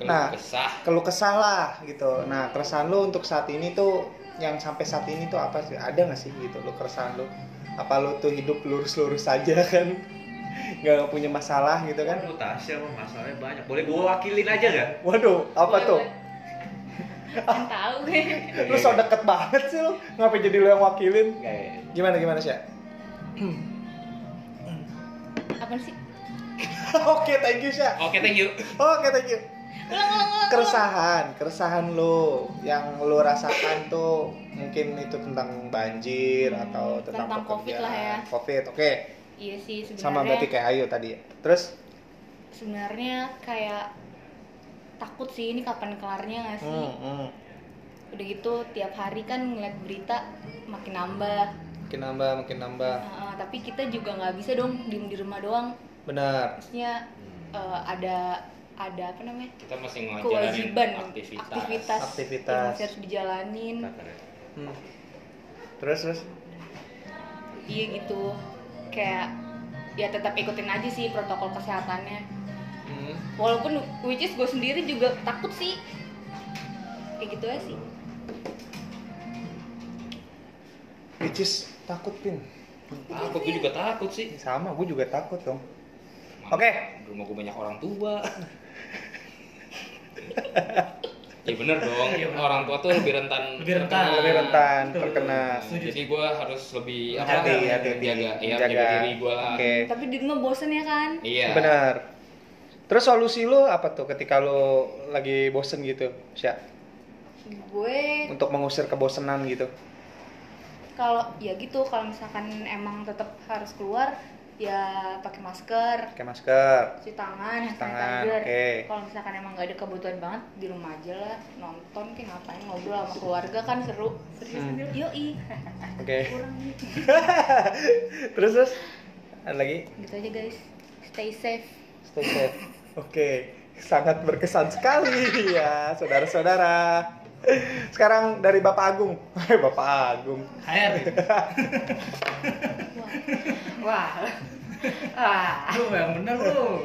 Speaker 6: kalau
Speaker 1: nah
Speaker 6: kesah
Speaker 1: kalau kesah lah gitu nah keresahan lu untuk saat ini tuh yang sampai saat ini tuh apa sih ada nggak sih gitu lu keresahan lu apa lu tuh hidup lurus-lurus saja kan nggak punya masalah gitu
Speaker 3: kan
Speaker 1: kan
Speaker 3: lu Tasya mah masalahnya banyak boleh gue wakilin aja gak?
Speaker 1: waduh apa
Speaker 7: Boleh,
Speaker 1: tuh
Speaker 7: boleh. Iya, Kan tahu gue.
Speaker 1: lu so deket banget sih lu ngapain jadi lu yang wakilin gimana gimana Sya
Speaker 7: Apa sih?
Speaker 1: oke thank you Sya
Speaker 6: oke thank you
Speaker 1: Oke, thank you. Keresahan, keresahan lo yang lo rasakan tuh mungkin itu tentang banjir atau tentang,
Speaker 7: Tentang Covid
Speaker 1: pekerjaan.
Speaker 7: lah ya.
Speaker 1: Covid, oke.
Speaker 7: Iya sih sebenarnya.
Speaker 1: Sama berarti kayak Ayu tadi. ya. Terus
Speaker 7: Sebenarnya kayak takut sih ini kapan kelarnya nggak sih
Speaker 1: Hmm, hmm.
Speaker 7: udah gitu tiap hari kan ngeliat berita makin nambah
Speaker 1: Makin nambah, makin nambah.
Speaker 7: Nah, tapi kita juga nggak bisa dong diem di rumah doang
Speaker 1: Benar.
Speaker 7: maksudnya eh, ada ada apa namanya
Speaker 6: Hmm, kita masih ngejalanin
Speaker 7: kewajiban
Speaker 6: aktivitas.
Speaker 7: aktivitas,
Speaker 1: Aktivitas.
Speaker 7: yang masih harus dijalanin
Speaker 1: Hmm. Terus terus.
Speaker 7: iya gitu kayak ya tetap ikutin aja sih protokol kesehatannya
Speaker 6: Hmm.
Speaker 7: walaupun which is gue sendiri juga takut sih kayak gitu aja sih
Speaker 1: Which is takut pin. Eh,
Speaker 6: Takut, gue juga takut sih.
Speaker 1: Sama, gue juga takut dong.
Speaker 6: Mana
Speaker 1: Oke.
Speaker 6: di Rumah gue banyak orang tua. ya bener dong, orang tua tuh lebih rentan.
Speaker 5: Lebih rentan.
Speaker 6: terkena. Nah,
Speaker 1: Lebih rentan
Speaker 5: Betul.
Speaker 1: terkena
Speaker 5: Setuju.
Speaker 6: Jadi gue harus lebih
Speaker 1: hati, hati, hati.
Speaker 6: jaga, ya,
Speaker 1: Iya, Menjaga.
Speaker 6: jaga diri gue lah.
Speaker 1: Oke.
Speaker 7: tapi di rumah bosen ya kan
Speaker 6: Iya.
Speaker 1: Benar. Terus solusi lo apa tuh ketika lo lagi bosen gitu, Sya?
Speaker 7: gue
Speaker 1: Untuk mengusir kebosenan gitu.
Speaker 7: kalau ya gitu kalau misalkan emang tetap harus keluar ya pakai masker
Speaker 1: Pakai masker.
Speaker 7: cuci tangan hand
Speaker 1: Tangan,
Speaker 7: sanitizer.
Speaker 1: oke.
Speaker 7: kalau misalkan emang nggak ada kebutuhan banget di rumah aja lah nonton kayak ngapain ngobrol sama keluarga kan seru
Speaker 1: Hmm.
Speaker 7: yoi
Speaker 1: Oke.
Speaker 7: kurang nih
Speaker 1: Terus terus. Ada lagi?
Speaker 7: gitu aja guys stay safe
Speaker 1: Stay safe. Oke, sangat berkesan sekali ya, saudara-saudara. Sekarang dari Bapak Agung. Eh, Bapak Agung.
Speaker 5: HR
Speaker 4: Wah. Wah.
Speaker 5: lu yang bener lu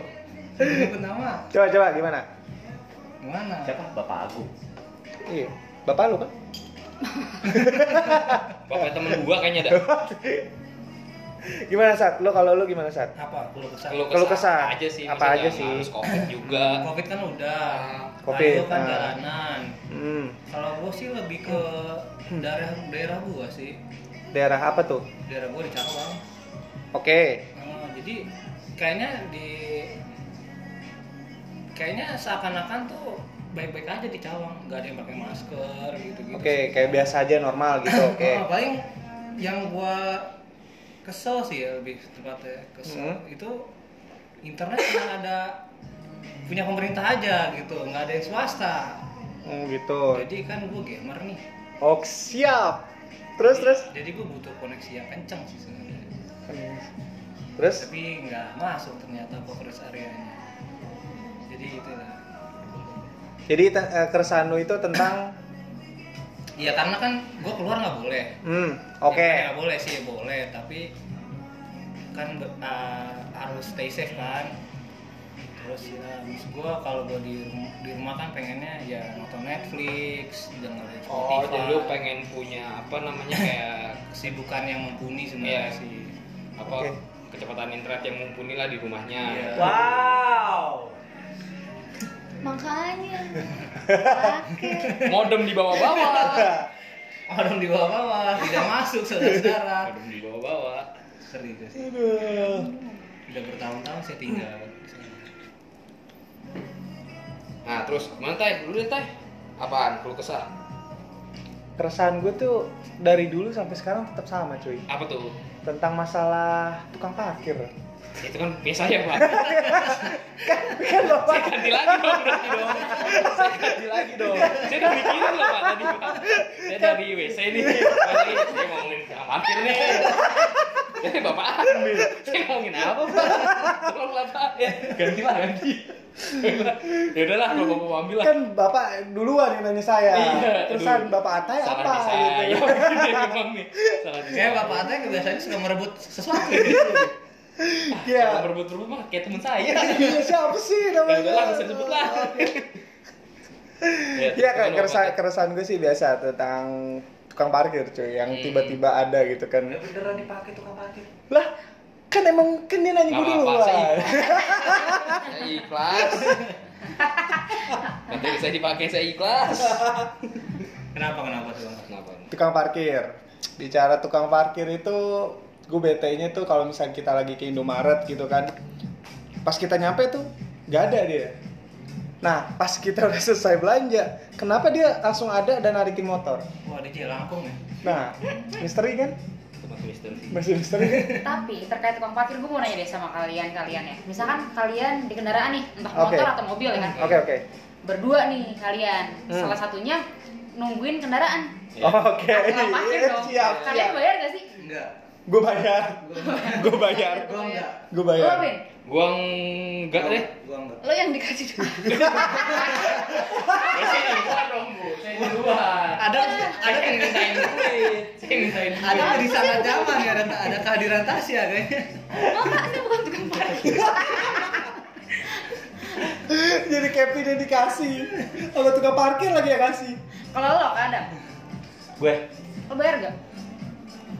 Speaker 5: nyebut nama
Speaker 1: Coba coba gimana?
Speaker 5: gimana
Speaker 3: Siapa? Bapak Agung.
Speaker 1: Iya. Bapak lu kan?
Speaker 6: Bapak temen gue kayaknya ada.
Speaker 1: Gimana saat? Lo kalau lu gimana saat?
Speaker 5: apa kalau kesal
Speaker 6: Kalau
Speaker 1: Keluh kesah.
Speaker 6: aja sih.
Speaker 1: Apa
Speaker 6: maksudnya
Speaker 1: aja
Speaker 6: nggak
Speaker 1: sih?
Speaker 6: Harus covid juga.
Speaker 5: covid kan udah
Speaker 1: Covid,
Speaker 5: Lalu kan
Speaker 1: nah.
Speaker 5: jalanan
Speaker 1: Hmm.
Speaker 5: kalau gue sih lebih ke daerah daerah gue sih
Speaker 1: Daerah apa tuh?
Speaker 5: daerah gue di Cawang
Speaker 1: Oke.
Speaker 5: Oh, jadi kayaknya di kayaknya seakan-akan tuh baik-baik aja di Cawang nggak ada yang pakai masker gitu-gitu
Speaker 1: Oke, kayak biasa aja normal gitu. Oke.
Speaker 5: Oh, paling yang gua kesel sih ya lebih tepatnya
Speaker 1: Hmm.
Speaker 5: kesel itu internet cuma ada punya pemerintah aja gitu nggak ada yang swasta
Speaker 1: Hmm, gitu.
Speaker 5: jadi kan gua gamer nih
Speaker 1: Oke, siap. Terus terus.
Speaker 5: jadi gua butuh koneksi yang kencang sih sebenarnya
Speaker 1: Terus
Speaker 5: tapi nggak masuk ternyata coverage areanya jadi itulah
Speaker 1: jadi te- eh, keresahan lu itu tentang
Speaker 5: Iya karena kan gua keluar nggak boleh
Speaker 1: hmm, oke.
Speaker 5: Ya, nggak boleh sih boleh tapi kan be- uh, harus stay safe kan terus ya maksud gue kalau gue di rumah, di rumah kan pengennya ya nonton Netflix dengerin Spotify
Speaker 6: Oh, jadi lu pengen punya apa namanya kayak
Speaker 5: kesibukan yang mumpuni sebenarnya
Speaker 6: Iya.
Speaker 5: sih
Speaker 6: apa
Speaker 1: Oke.
Speaker 6: kecepatan internet yang mumpuni lah di rumahnya.
Speaker 5: Iya.
Speaker 1: Wow.
Speaker 7: makanya pakai
Speaker 6: Modem dibawa-bawa.
Speaker 5: orang di bawah-bawah tidak masuk saudara-saudara
Speaker 6: Modem dibawa-bawa.
Speaker 5: serius sih udah bertahun-tahun saya tinggal di sana.
Speaker 6: Nah, terus mana teh? Dulu deh teh. Apaan? Keluh kesah.
Speaker 1: Keresahan gue tuh dari dulu sampai sekarang tetap sama cuy.
Speaker 6: Apa tuh?
Speaker 1: Tentang masalah tukang parkir.
Speaker 6: Itu kan biasa ya, Pak.
Speaker 1: Kan bapak
Speaker 6: Saya ganti lagi dong, berarti dong. Saya ganti lagi dong. Saya udah mikirin loh, Pak, tadi, Pak. Saya dari WC nih. Pak, ini Saya mau ngomongin tukang parkir nih. Jadi Bapak, saya ngomongin apa, Pak? Tolong lah, Pak. Ya, ganti lah, ganti. Ya udahlah, kalau Bapak ambil lah.
Speaker 1: kan bapak duluan yang nanya saya.
Speaker 6: Iya,
Speaker 1: Terusan
Speaker 6: aduh.
Speaker 1: bapak Atai apa?
Speaker 6: Salah di saya. Ya,
Speaker 1: gitu.
Speaker 6: begini memang nih. Salah di iya.
Speaker 5: kayak
Speaker 2: Iya.
Speaker 6: saya.
Speaker 5: Iya, bapak Ate kebiasaannya suka merebut sesuatu
Speaker 1: Iya.
Speaker 6: Kalau berebut-rebut mah kayak temen saya.
Speaker 1: Iya, siapa sih
Speaker 6: Ya
Speaker 1: namanya?
Speaker 6: udah lah, nggak usah sebut lah. Ya,
Speaker 1: Iya kan
Speaker 6: terus
Speaker 1: keresahan,
Speaker 6: apa?
Speaker 1: keresahan gue sih biasa tentang tukang parkir cuy yang
Speaker 6: Hmm.
Speaker 1: tiba-tiba ada gitu kan.
Speaker 5: beneran dipakai tukang parkir
Speaker 1: Lah kan emang kan dia nanya gue
Speaker 6: Nggak apa-apa,
Speaker 1: dulu
Speaker 6: saya Saya ikhlas. Nanti bisa dipakai saya ikhlas.
Speaker 5: kenapa kenapa tuh
Speaker 6: Kenapa?
Speaker 1: tukang parkir bicara tukang parkir itu gue bete nya tuh kalau misalnya kita lagi ke Indomaret gitu kan pas kita nyampe tuh nggak ada dia nah pas kita udah selesai belanja kenapa dia langsung ada dan narikin motor
Speaker 5: wah dia jalan langkung ya
Speaker 1: nah misteri kan
Speaker 6: Tempat misteri.
Speaker 1: masih misteri kan
Speaker 4: Tapi terkait tukang parkir gue mau nanya deh sama kalian kalian ya. Misalkan kalian di kendaraan nih, entah
Speaker 1: Oke.
Speaker 4: motor atau mobil ya kan.
Speaker 1: oke oke
Speaker 4: berdua nih kalian
Speaker 1: Hmm.
Speaker 4: salah satunya nungguin kendaraan
Speaker 1: Oke.
Speaker 4: Aku nggak parkir
Speaker 1: Iya,
Speaker 4: dong.
Speaker 1: Siap,
Speaker 4: kalian
Speaker 1: siap.
Speaker 4: bayar gak sih Gitu,
Speaker 5: Enggak.
Speaker 1: Gue bayar. Gue bayar.
Speaker 5: Gua enggak.
Speaker 1: Gue
Speaker 4: lo
Speaker 1: bayar.
Speaker 4: Win
Speaker 6: Gua enggak deh.
Speaker 5: Gua enggak.
Speaker 7: Lo yang dikasih dulu.
Speaker 6: Saya di luar dong, Bu. Saya di luar.
Speaker 5: Ada ada yang mintain duit.
Speaker 6: Saya mintain duit.
Speaker 5: Ada yang di sangat nyaman ya, ada ada kehadiran Tasya kayaknya.
Speaker 7: Mama, ini bukan tukang parkir.
Speaker 1: Jadi Kevin yang dikasih. Kalau tukang parkir lagi yang kasih.
Speaker 4: kalau lo Kak Adam
Speaker 3: Gue,
Speaker 4: lo bayar gak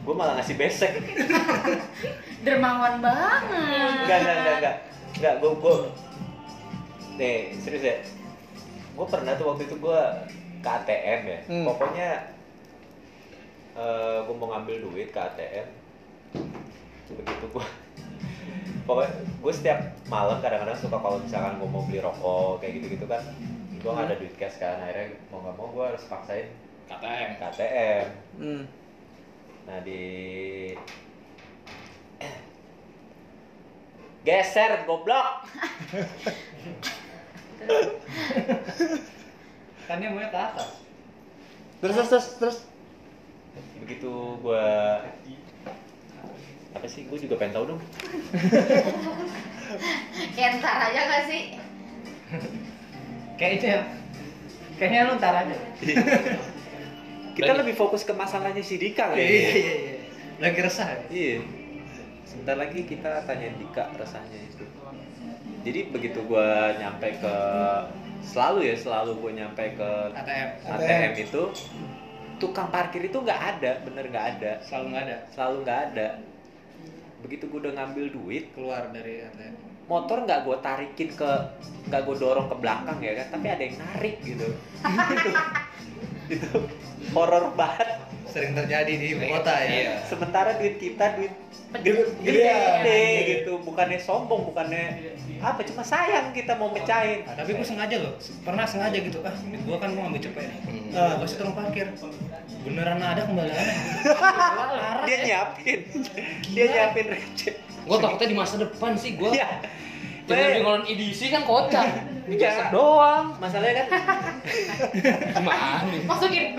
Speaker 3: gue malah ngasih besek.
Speaker 4: dermawan banget
Speaker 3: Enggak, enggak, enggak, enggak. Enggak, gue, gue. Nih, serius ya. Gue pernah tuh waktu itu gue ke ATM ya.
Speaker 1: Hmm.
Speaker 3: Pokoknya eh gue mau ngambil duit ke ATM. Begitu gue pokoknya gue setiap malam kadang-kadang suka kalau misalkan gue mau beli rokok kayak gitu-gitu kan gue nggak
Speaker 1: Hmm.
Speaker 3: ada duit cash kan akhirnya mau nggak mau gue harus paksain
Speaker 6: KTM.
Speaker 3: ke ATM
Speaker 1: Hmm.
Speaker 3: Nah di geser goblok.
Speaker 5: Kan dia maunya ke atas.
Speaker 1: Terus terus terus terus.
Speaker 3: Begitu gua apa sih? Gua juga pengen tahu dong.
Speaker 4: kayak Ya, ntar aja gak sih
Speaker 5: Kayak itu ya. Kayaknya lu ntar aja.
Speaker 3: Kita
Speaker 6: Lagi-
Speaker 3: lebih fokus ke masalahnya si Dika kali.
Speaker 5: Iya
Speaker 3: ya.
Speaker 5: iya iya. Lagi resah. ya?
Speaker 3: Iya. Sebentar lagi kita tanya Dika rasanya itu. Jadi begitu gua nyampe ke selalu ya selalu gua nyampe ke
Speaker 5: ATM.
Speaker 3: ATM itu tukang parkir itu nggak ada, bener nggak ada.
Speaker 5: Selalu nggak ada
Speaker 3: selalu nggak ada begitu gue udah ngambil duit
Speaker 5: keluar dari ATM.
Speaker 3: motor nggak gue tarikin ke nggak gue dorong ke belakang ya kan tapi ada yang narik gitu itu horor banget
Speaker 5: Sering terjadi di ibu kota ya.
Speaker 3: sementara duit kita duit
Speaker 4: Gede.
Speaker 3: gede gede
Speaker 1: Iya.
Speaker 3: gitu bukannya sombong bukannya apa cuma sayang kita mau mecahin
Speaker 5: Nah, Tapi gue sengaja loh, pernah sengaja gitu ah, gue kan mau ngambil cepet nih,
Speaker 1: Ah.
Speaker 5: hmm. gue tukang parkir, beneran ada kembaliannya. ya? eh.
Speaker 3: dia nyiapin dia nyiapin receh
Speaker 6: Gua takutnya di masa depan sih gua.
Speaker 1: Iya,
Speaker 3: ya
Speaker 1: eh.
Speaker 6: Jangan
Speaker 3: Be-
Speaker 6: ngolon edisi kan kocak.
Speaker 3: Iya. doang masalahnya kan
Speaker 6: Gimana?
Speaker 4: masukin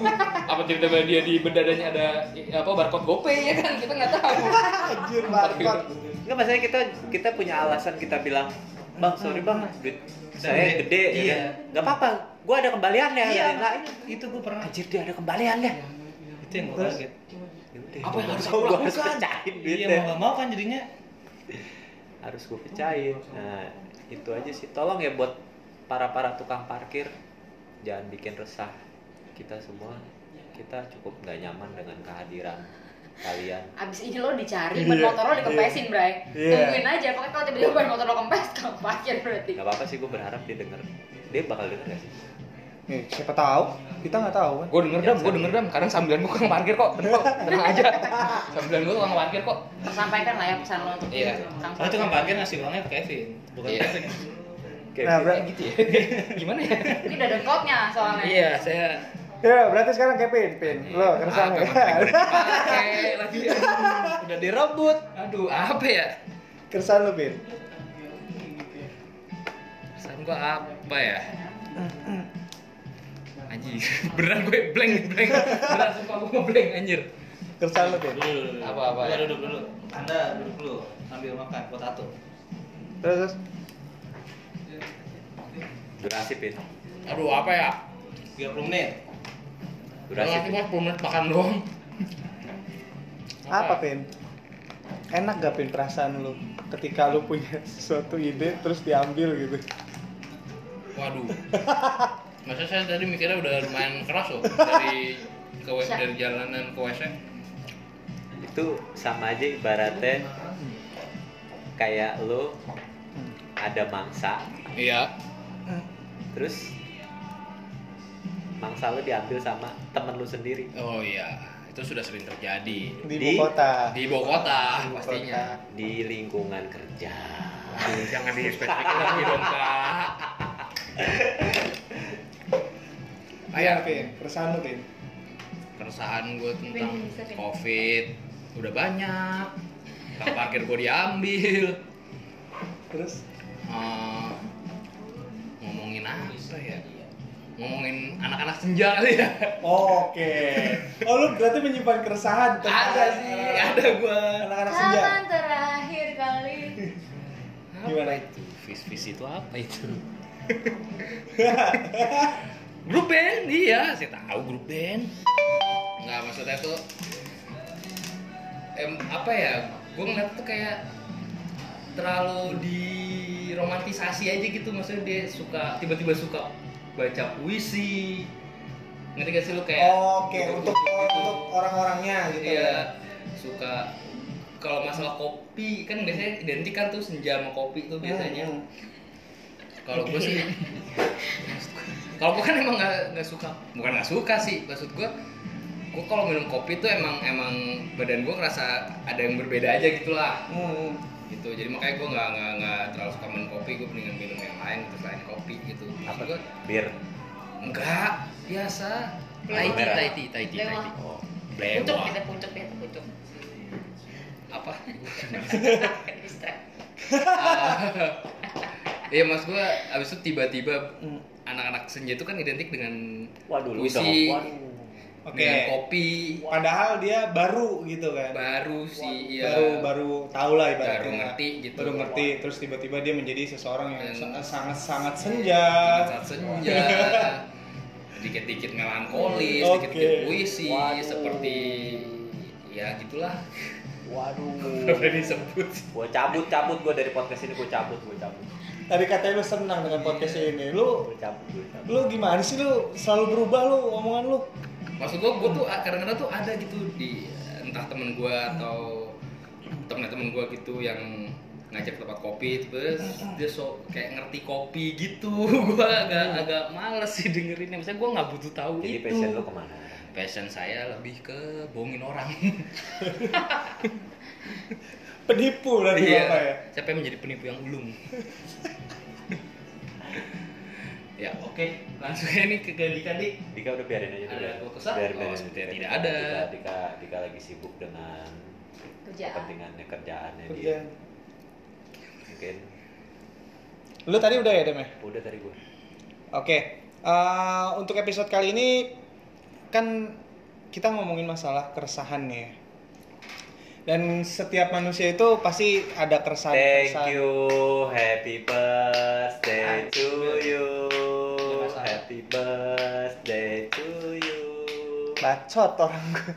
Speaker 6: 2000. Apa tiba-tiba dia di bedadanya ada i- apa barcode GoPay ya kan kita nggak tahu.
Speaker 1: Anjir barcode.
Speaker 3: Enggak masalahnya kita kita punya alasan kita bilang bang sorry bang duit saya
Speaker 5: Gede.
Speaker 3: gede ya
Speaker 5: Iya.
Speaker 3: kan?" nggak apa-apa gue ada kembaliannya
Speaker 5: Iya,
Speaker 3: ya lain
Speaker 5: itu gue pernah.
Speaker 3: anjir dia ada kembaliannya Ya
Speaker 5: Itu yang gue kaget.
Speaker 3: Oh,
Speaker 6: Apa yang harus aku
Speaker 3: gue harus
Speaker 6: lakukan?
Speaker 3: pecahin
Speaker 5: Iya
Speaker 3: duitnya
Speaker 5: mau gak mau kan jadinya.
Speaker 3: harus gue pecahin nah itu aja sih tolong ya buat para para tukang parkir jangan bikin resah kita semua kita cukup nggak nyaman dengan kehadiran kalian
Speaker 4: Abis ini lo dicari,
Speaker 1: Iya,
Speaker 4: ban motor lo dikempesin, Bray.
Speaker 1: Iya.
Speaker 4: Tungguin aja, pokoknya kalau tiba-tiba ban motor lo kempes, kamu parkir berarti.
Speaker 3: nggak apa-apa sih gue berharap dia denger dia bakal denger gak sih
Speaker 1: Nih, Eh, siapa tahu? Kita nggak tahu kan.
Speaker 6: Gue denger dam, gue denger dam. Kadang sambilan gue tukang parkir kok, tenang, tenang aja. Sambilan gue tukang parkir kok.
Speaker 4: Tersampaikan lah ya pesan lo untuk
Speaker 6: Iya.
Speaker 4: tukang
Speaker 5: Soalnya tukang parkir ngasih uangnya ke Kevin, bukan
Speaker 6: Iya.
Speaker 5: Kevin.
Speaker 3: Kayak
Speaker 1: Nah,
Speaker 6: Kayak
Speaker 1: berarti
Speaker 6: gitu ya. Gimana ya?
Speaker 4: Ini udah ada code-nya soalnya.
Speaker 6: Iya, saya
Speaker 1: ya, berarti sekarang Kevin, Pin. Lo ya? resah
Speaker 6: Ah,
Speaker 1: nggak?
Speaker 6: kamar gue dipakai lagi. Aduh, ya. Udah direbut. Aduh, apa ya?
Speaker 1: Keresahan lo, Pin.
Speaker 6: Pesan gue apa ya? Anjir, beneran gue blank nih, blank. Beneran sumpah gue ngeblank anjir.
Speaker 1: Keresahan lo, Pin.
Speaker 5: Dulu, dulu, dulu.
Speaker 6: Apa-apa
Speaker 5: Lu
Speaker 6: ya?
Speaker 5: duduk dulu. Anda duduk dulu, ambil makan, buat tato.
Speaker 1: Terus terus.
Speaker 3: durasi pin
Speaker 6: Aduh, apa ya?
Speaker 5: 30 menit.
Speaker 3: durasi
Speaker 6: Durasi
Speaker 3: Pin.
Speaker 6: cuma 10 menit makan doang.
Speaker 1: Apa, Pin? Enak gak Pin perasaan lu ketika lu punya sesuatu ide terus diambil gitu?
Speaker 6: Waduh. Masa saya tadi mikirnya udah lumayan keras loh dari ke dari jalanan ke WC.
Speaker 3: itu sama aja ibaratnya kayak lo ada mangsa
Speaker 6: Iya.
Speaker 3: terus mangsa lo diambil sama temen lo sendiri
Speaker 6: Oh iya, itu sudah sering terjadi
Speaker 1: Di
Speaker 3: Di-
Speaker 1: ibu kota.
Speaker 6: di ibu kota
Speaker 1: Ibu
Speaker 6: pastinya.
Speaker 3: di lingkungan kerja
Speaker 6: Aduh, jangan di spesifikin lagi dong kak.
Speaker 1: Iya, Pin. Keresahan lu, Pin.
Speaker 6: Keresahan gue tentang
Speaker 7: Win, bisa, Win.
Speaker 6: covid udah banyak. Kang parkir gue diambil.
Speaker 1: Terus
Speaker 6: Eh, ngomongin
Speaker 5: apa ya? Ngomongin anak-anak senja kali ya.
Speaker 1: Oke. Oh lu berarti menyimpan keresahan tentang
Speaker 5: Ada sih, ada gua.
Speaker 1: anak-anak senja.
Speaker 4: Kapan terakhir kali?
Speaker 1: Gimana?
Speaker 3: Vis vis itu apa itu?
Speaker 5: Grup band, iya, saya tahu grup band. Nggak maksudnya tuh em apa ya? Gue ngeliat tuh kayak terlalu diromantisasi aja gitu maksudnya dia suka tiba-tiba suka baca puisi ngerti gak sih lu kayak
Speaker 1: Oke, untuk untuk orang-orangnya gitu ya.
Speaker 5: Iya, suka kalau masalah kopi kan biasanya identik kan tuh senja sama kopi
Speaker 6: Ah,
Speaker 5: tuh biasanya.
Speaker 1: Hmm.
Speaker 5: Kalau gue sih, kalau gue kan emang nggak nggak suka, bukan nggak suka sih, maksud gue, gue kalau minum kopi tuh emang emang badan gue ngerasa ada yang berbeda aja gitulah
Speaker 1: Hmm.
Speaker 5: gitu jadi makanya gue nggak nggak nggak terlalu suka minum kopi gue mendingan minum yang lain gitu selain kopi gitu maksud gue
Speaker 3: Bir.
Speaker 5: enggak biasa Iya,
Speaker 7: Blewah.
Speaker 5: Taiti
Speaker 3: ya?
Speaker 5: Taiti Taiti
Speaker 7: Blewah.
Speaker 5: Taiti
Speaker 3: Oh.
Speaker 7: pucuk
Speaker 5: Blewah.
Speaker 7: kita pucuk kita pucuk
Speaker 5: apa
Speaker 7: Kayak distract.
Speaker 5: Ah. Iya mas gue abis itu tiba-tiba
Speaker 1: Hmm.
Speaker 5: anak-anak senja itu kan identik dengan
Speaker 3: Waduh lu udah
Speaker 5: puisi,
Speaker 3: waduh.
Speaker 1: Oke.
Speaker 5: dengan kopi
Speaker 1: Padahal dia baru gitu kan.
Speaker 5: baru sih iya
Speaker 1: Baru baru tahu lah ibaratnya.
Speaker 5: Baru ngerti gitu.
Speaker 1: Baru ngerti terus tiba-tiba dia menjadi seseorang yang
Speaker 5: Dan- Iya.
Speaker 1: sangat-sangat senja.
Speaker 5: saat senja dikit-dikit melankolis,
Speaker 1: Oke.
Speaker 5: dikit-dikit puisi
Speaker 3: Waduh.
Speaker 5: seperti ya gitulah
Speaker 3: Waduh.
Speaker 5: apa disebut
Speaker 3: Gua cabut cabut gua dari podcast ini gua cabut gua cabut.
Speaker 1: Tadi katanya lu senang dengan podcast
Speaker 5: Iya.
Speaker 1: ini. Lu
Speaker 3: Gua cabut gua cabut.
Speaker 1: lu gimana sih lu selalu berubah lu omongan lu.
Speaker 5: maksud gue gue tuh kadang-kadang tuh ada gitu di entah temen gue atau temen-temen gue gitu yang ngajak ke tempat kopi terus dia so kayak ngerti kopi gitu gue
Speaker 1: Iya.
Speaker 5: agak agak males sih dengerinnya misalnya gue nggak butuh tahu
Speaker 3: Jadi
Speaker 5: itu
Speaker 3: passion lu kemana?
Speaker 5: passion saya lebih ke bohongin orang
Speaker 1: Penipu lah
Speaker 5: Iya.
Speaker 1: dia apa ya?
Speaker 5: siapa yang menjadi penipu yang ulung ya oke langsung aja nih ke Dika dik
Speaker 3: Dika udah biarin aja
Speaker 5: Ada
Speaker 3: udah.
Speaker 5: gua kesal?
Speaker 3: Biarin,
Speaker 5: Oh,
Speaker 3: biarin.
Speaker 5: sepertinya
Speaker 3: Biarin.
Speaker 5: tidak ada.
Speaker 3: Dika, Dika, Dika lagi sibuk dengan
Speaker 4: Kerjaan.
Speaker 3: kepentingannya kerjaannya
Speaker 5: Iya.
Speaker 3: dia.
Speaker 1: Kerjaan.
Speaker 3: Mungkin
Speaker 1: Lu tadi udah ya, Dem? ya?
Speaker 3: udah tadi gua.
Speaker 1: Oke, eh, untuk episode kali ini kan kita ngomongin masalah keresahan nih. ya. Dan setiap manusia itu pasti ada keresahan.
Speaker 3: Thank you, happy birthday to you, happy birthday to you.
Speaker 1: Bacot orang gue.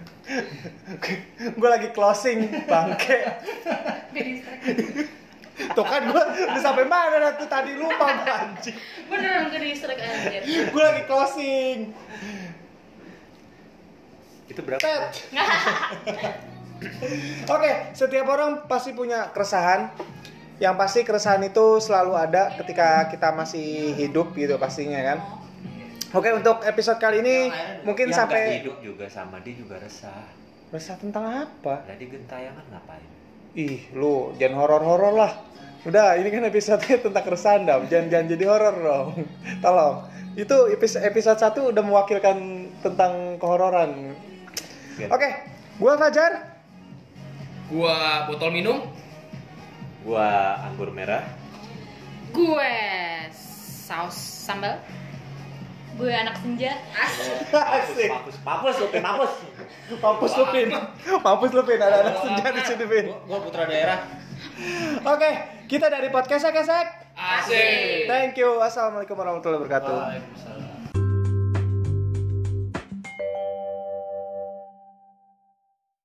Speaker 1: gue lagi closing bangke.
Speaker 7: Kayak distract.
Speaker 1: Tuh kan gue udah sampai mana dah tuh tadi lupa gua, anjing.
Speaker 7: beneran ke distract anjir
Speaker 1: Gue lagi closing.
Speaker 3: Itu berapa?
Speaker 1: Tet. Oke, setiap orang pasti punya keresahan. Yang pasti keresahan itu selalu ada ketika kita masih hidup gitu pastinya kan. Oke, untuk episode kali ini mungkin
Speaker 3: Yang
Speaker 1: sampai
Speaker 3: nggak Ya, hidup juga sama dia juga resah.
Speaker 1: resah tentang apa?
Speaker 3: Jadi gentayangan ngapain?
Speaker 1: Ih, lu jangan horor-horor lah. Udah, ini kan episodenya tentang keresahan, Dam. Jangan, jangan jadi horor dong. Tolong. Itu epis- episode 1 udah mewakilkan tentang kehororan. Oke, gua Fajar.
Speaker 5: gua botol minum
Speaker 3: Gua anggur merah.
Speaker 7: gue saus sambal gue anak senja
Speaker 1: Asik.
Speaker 3: Mampus, mampus, mampus, mampus.
Speaker 1: Mampus lu, Pin. Mampus lu, Pin. Ada anak senja di sini, Pin.
Speaker 5: gua putra daerah
Speaker 1: Oke, kita dari podcast Kesek.
Speaker 5: asik
Speaker 1: Thank you. Assalamualaikum warahmatullahi wabarakatuh.
Speaker 5: Waalaikumsalam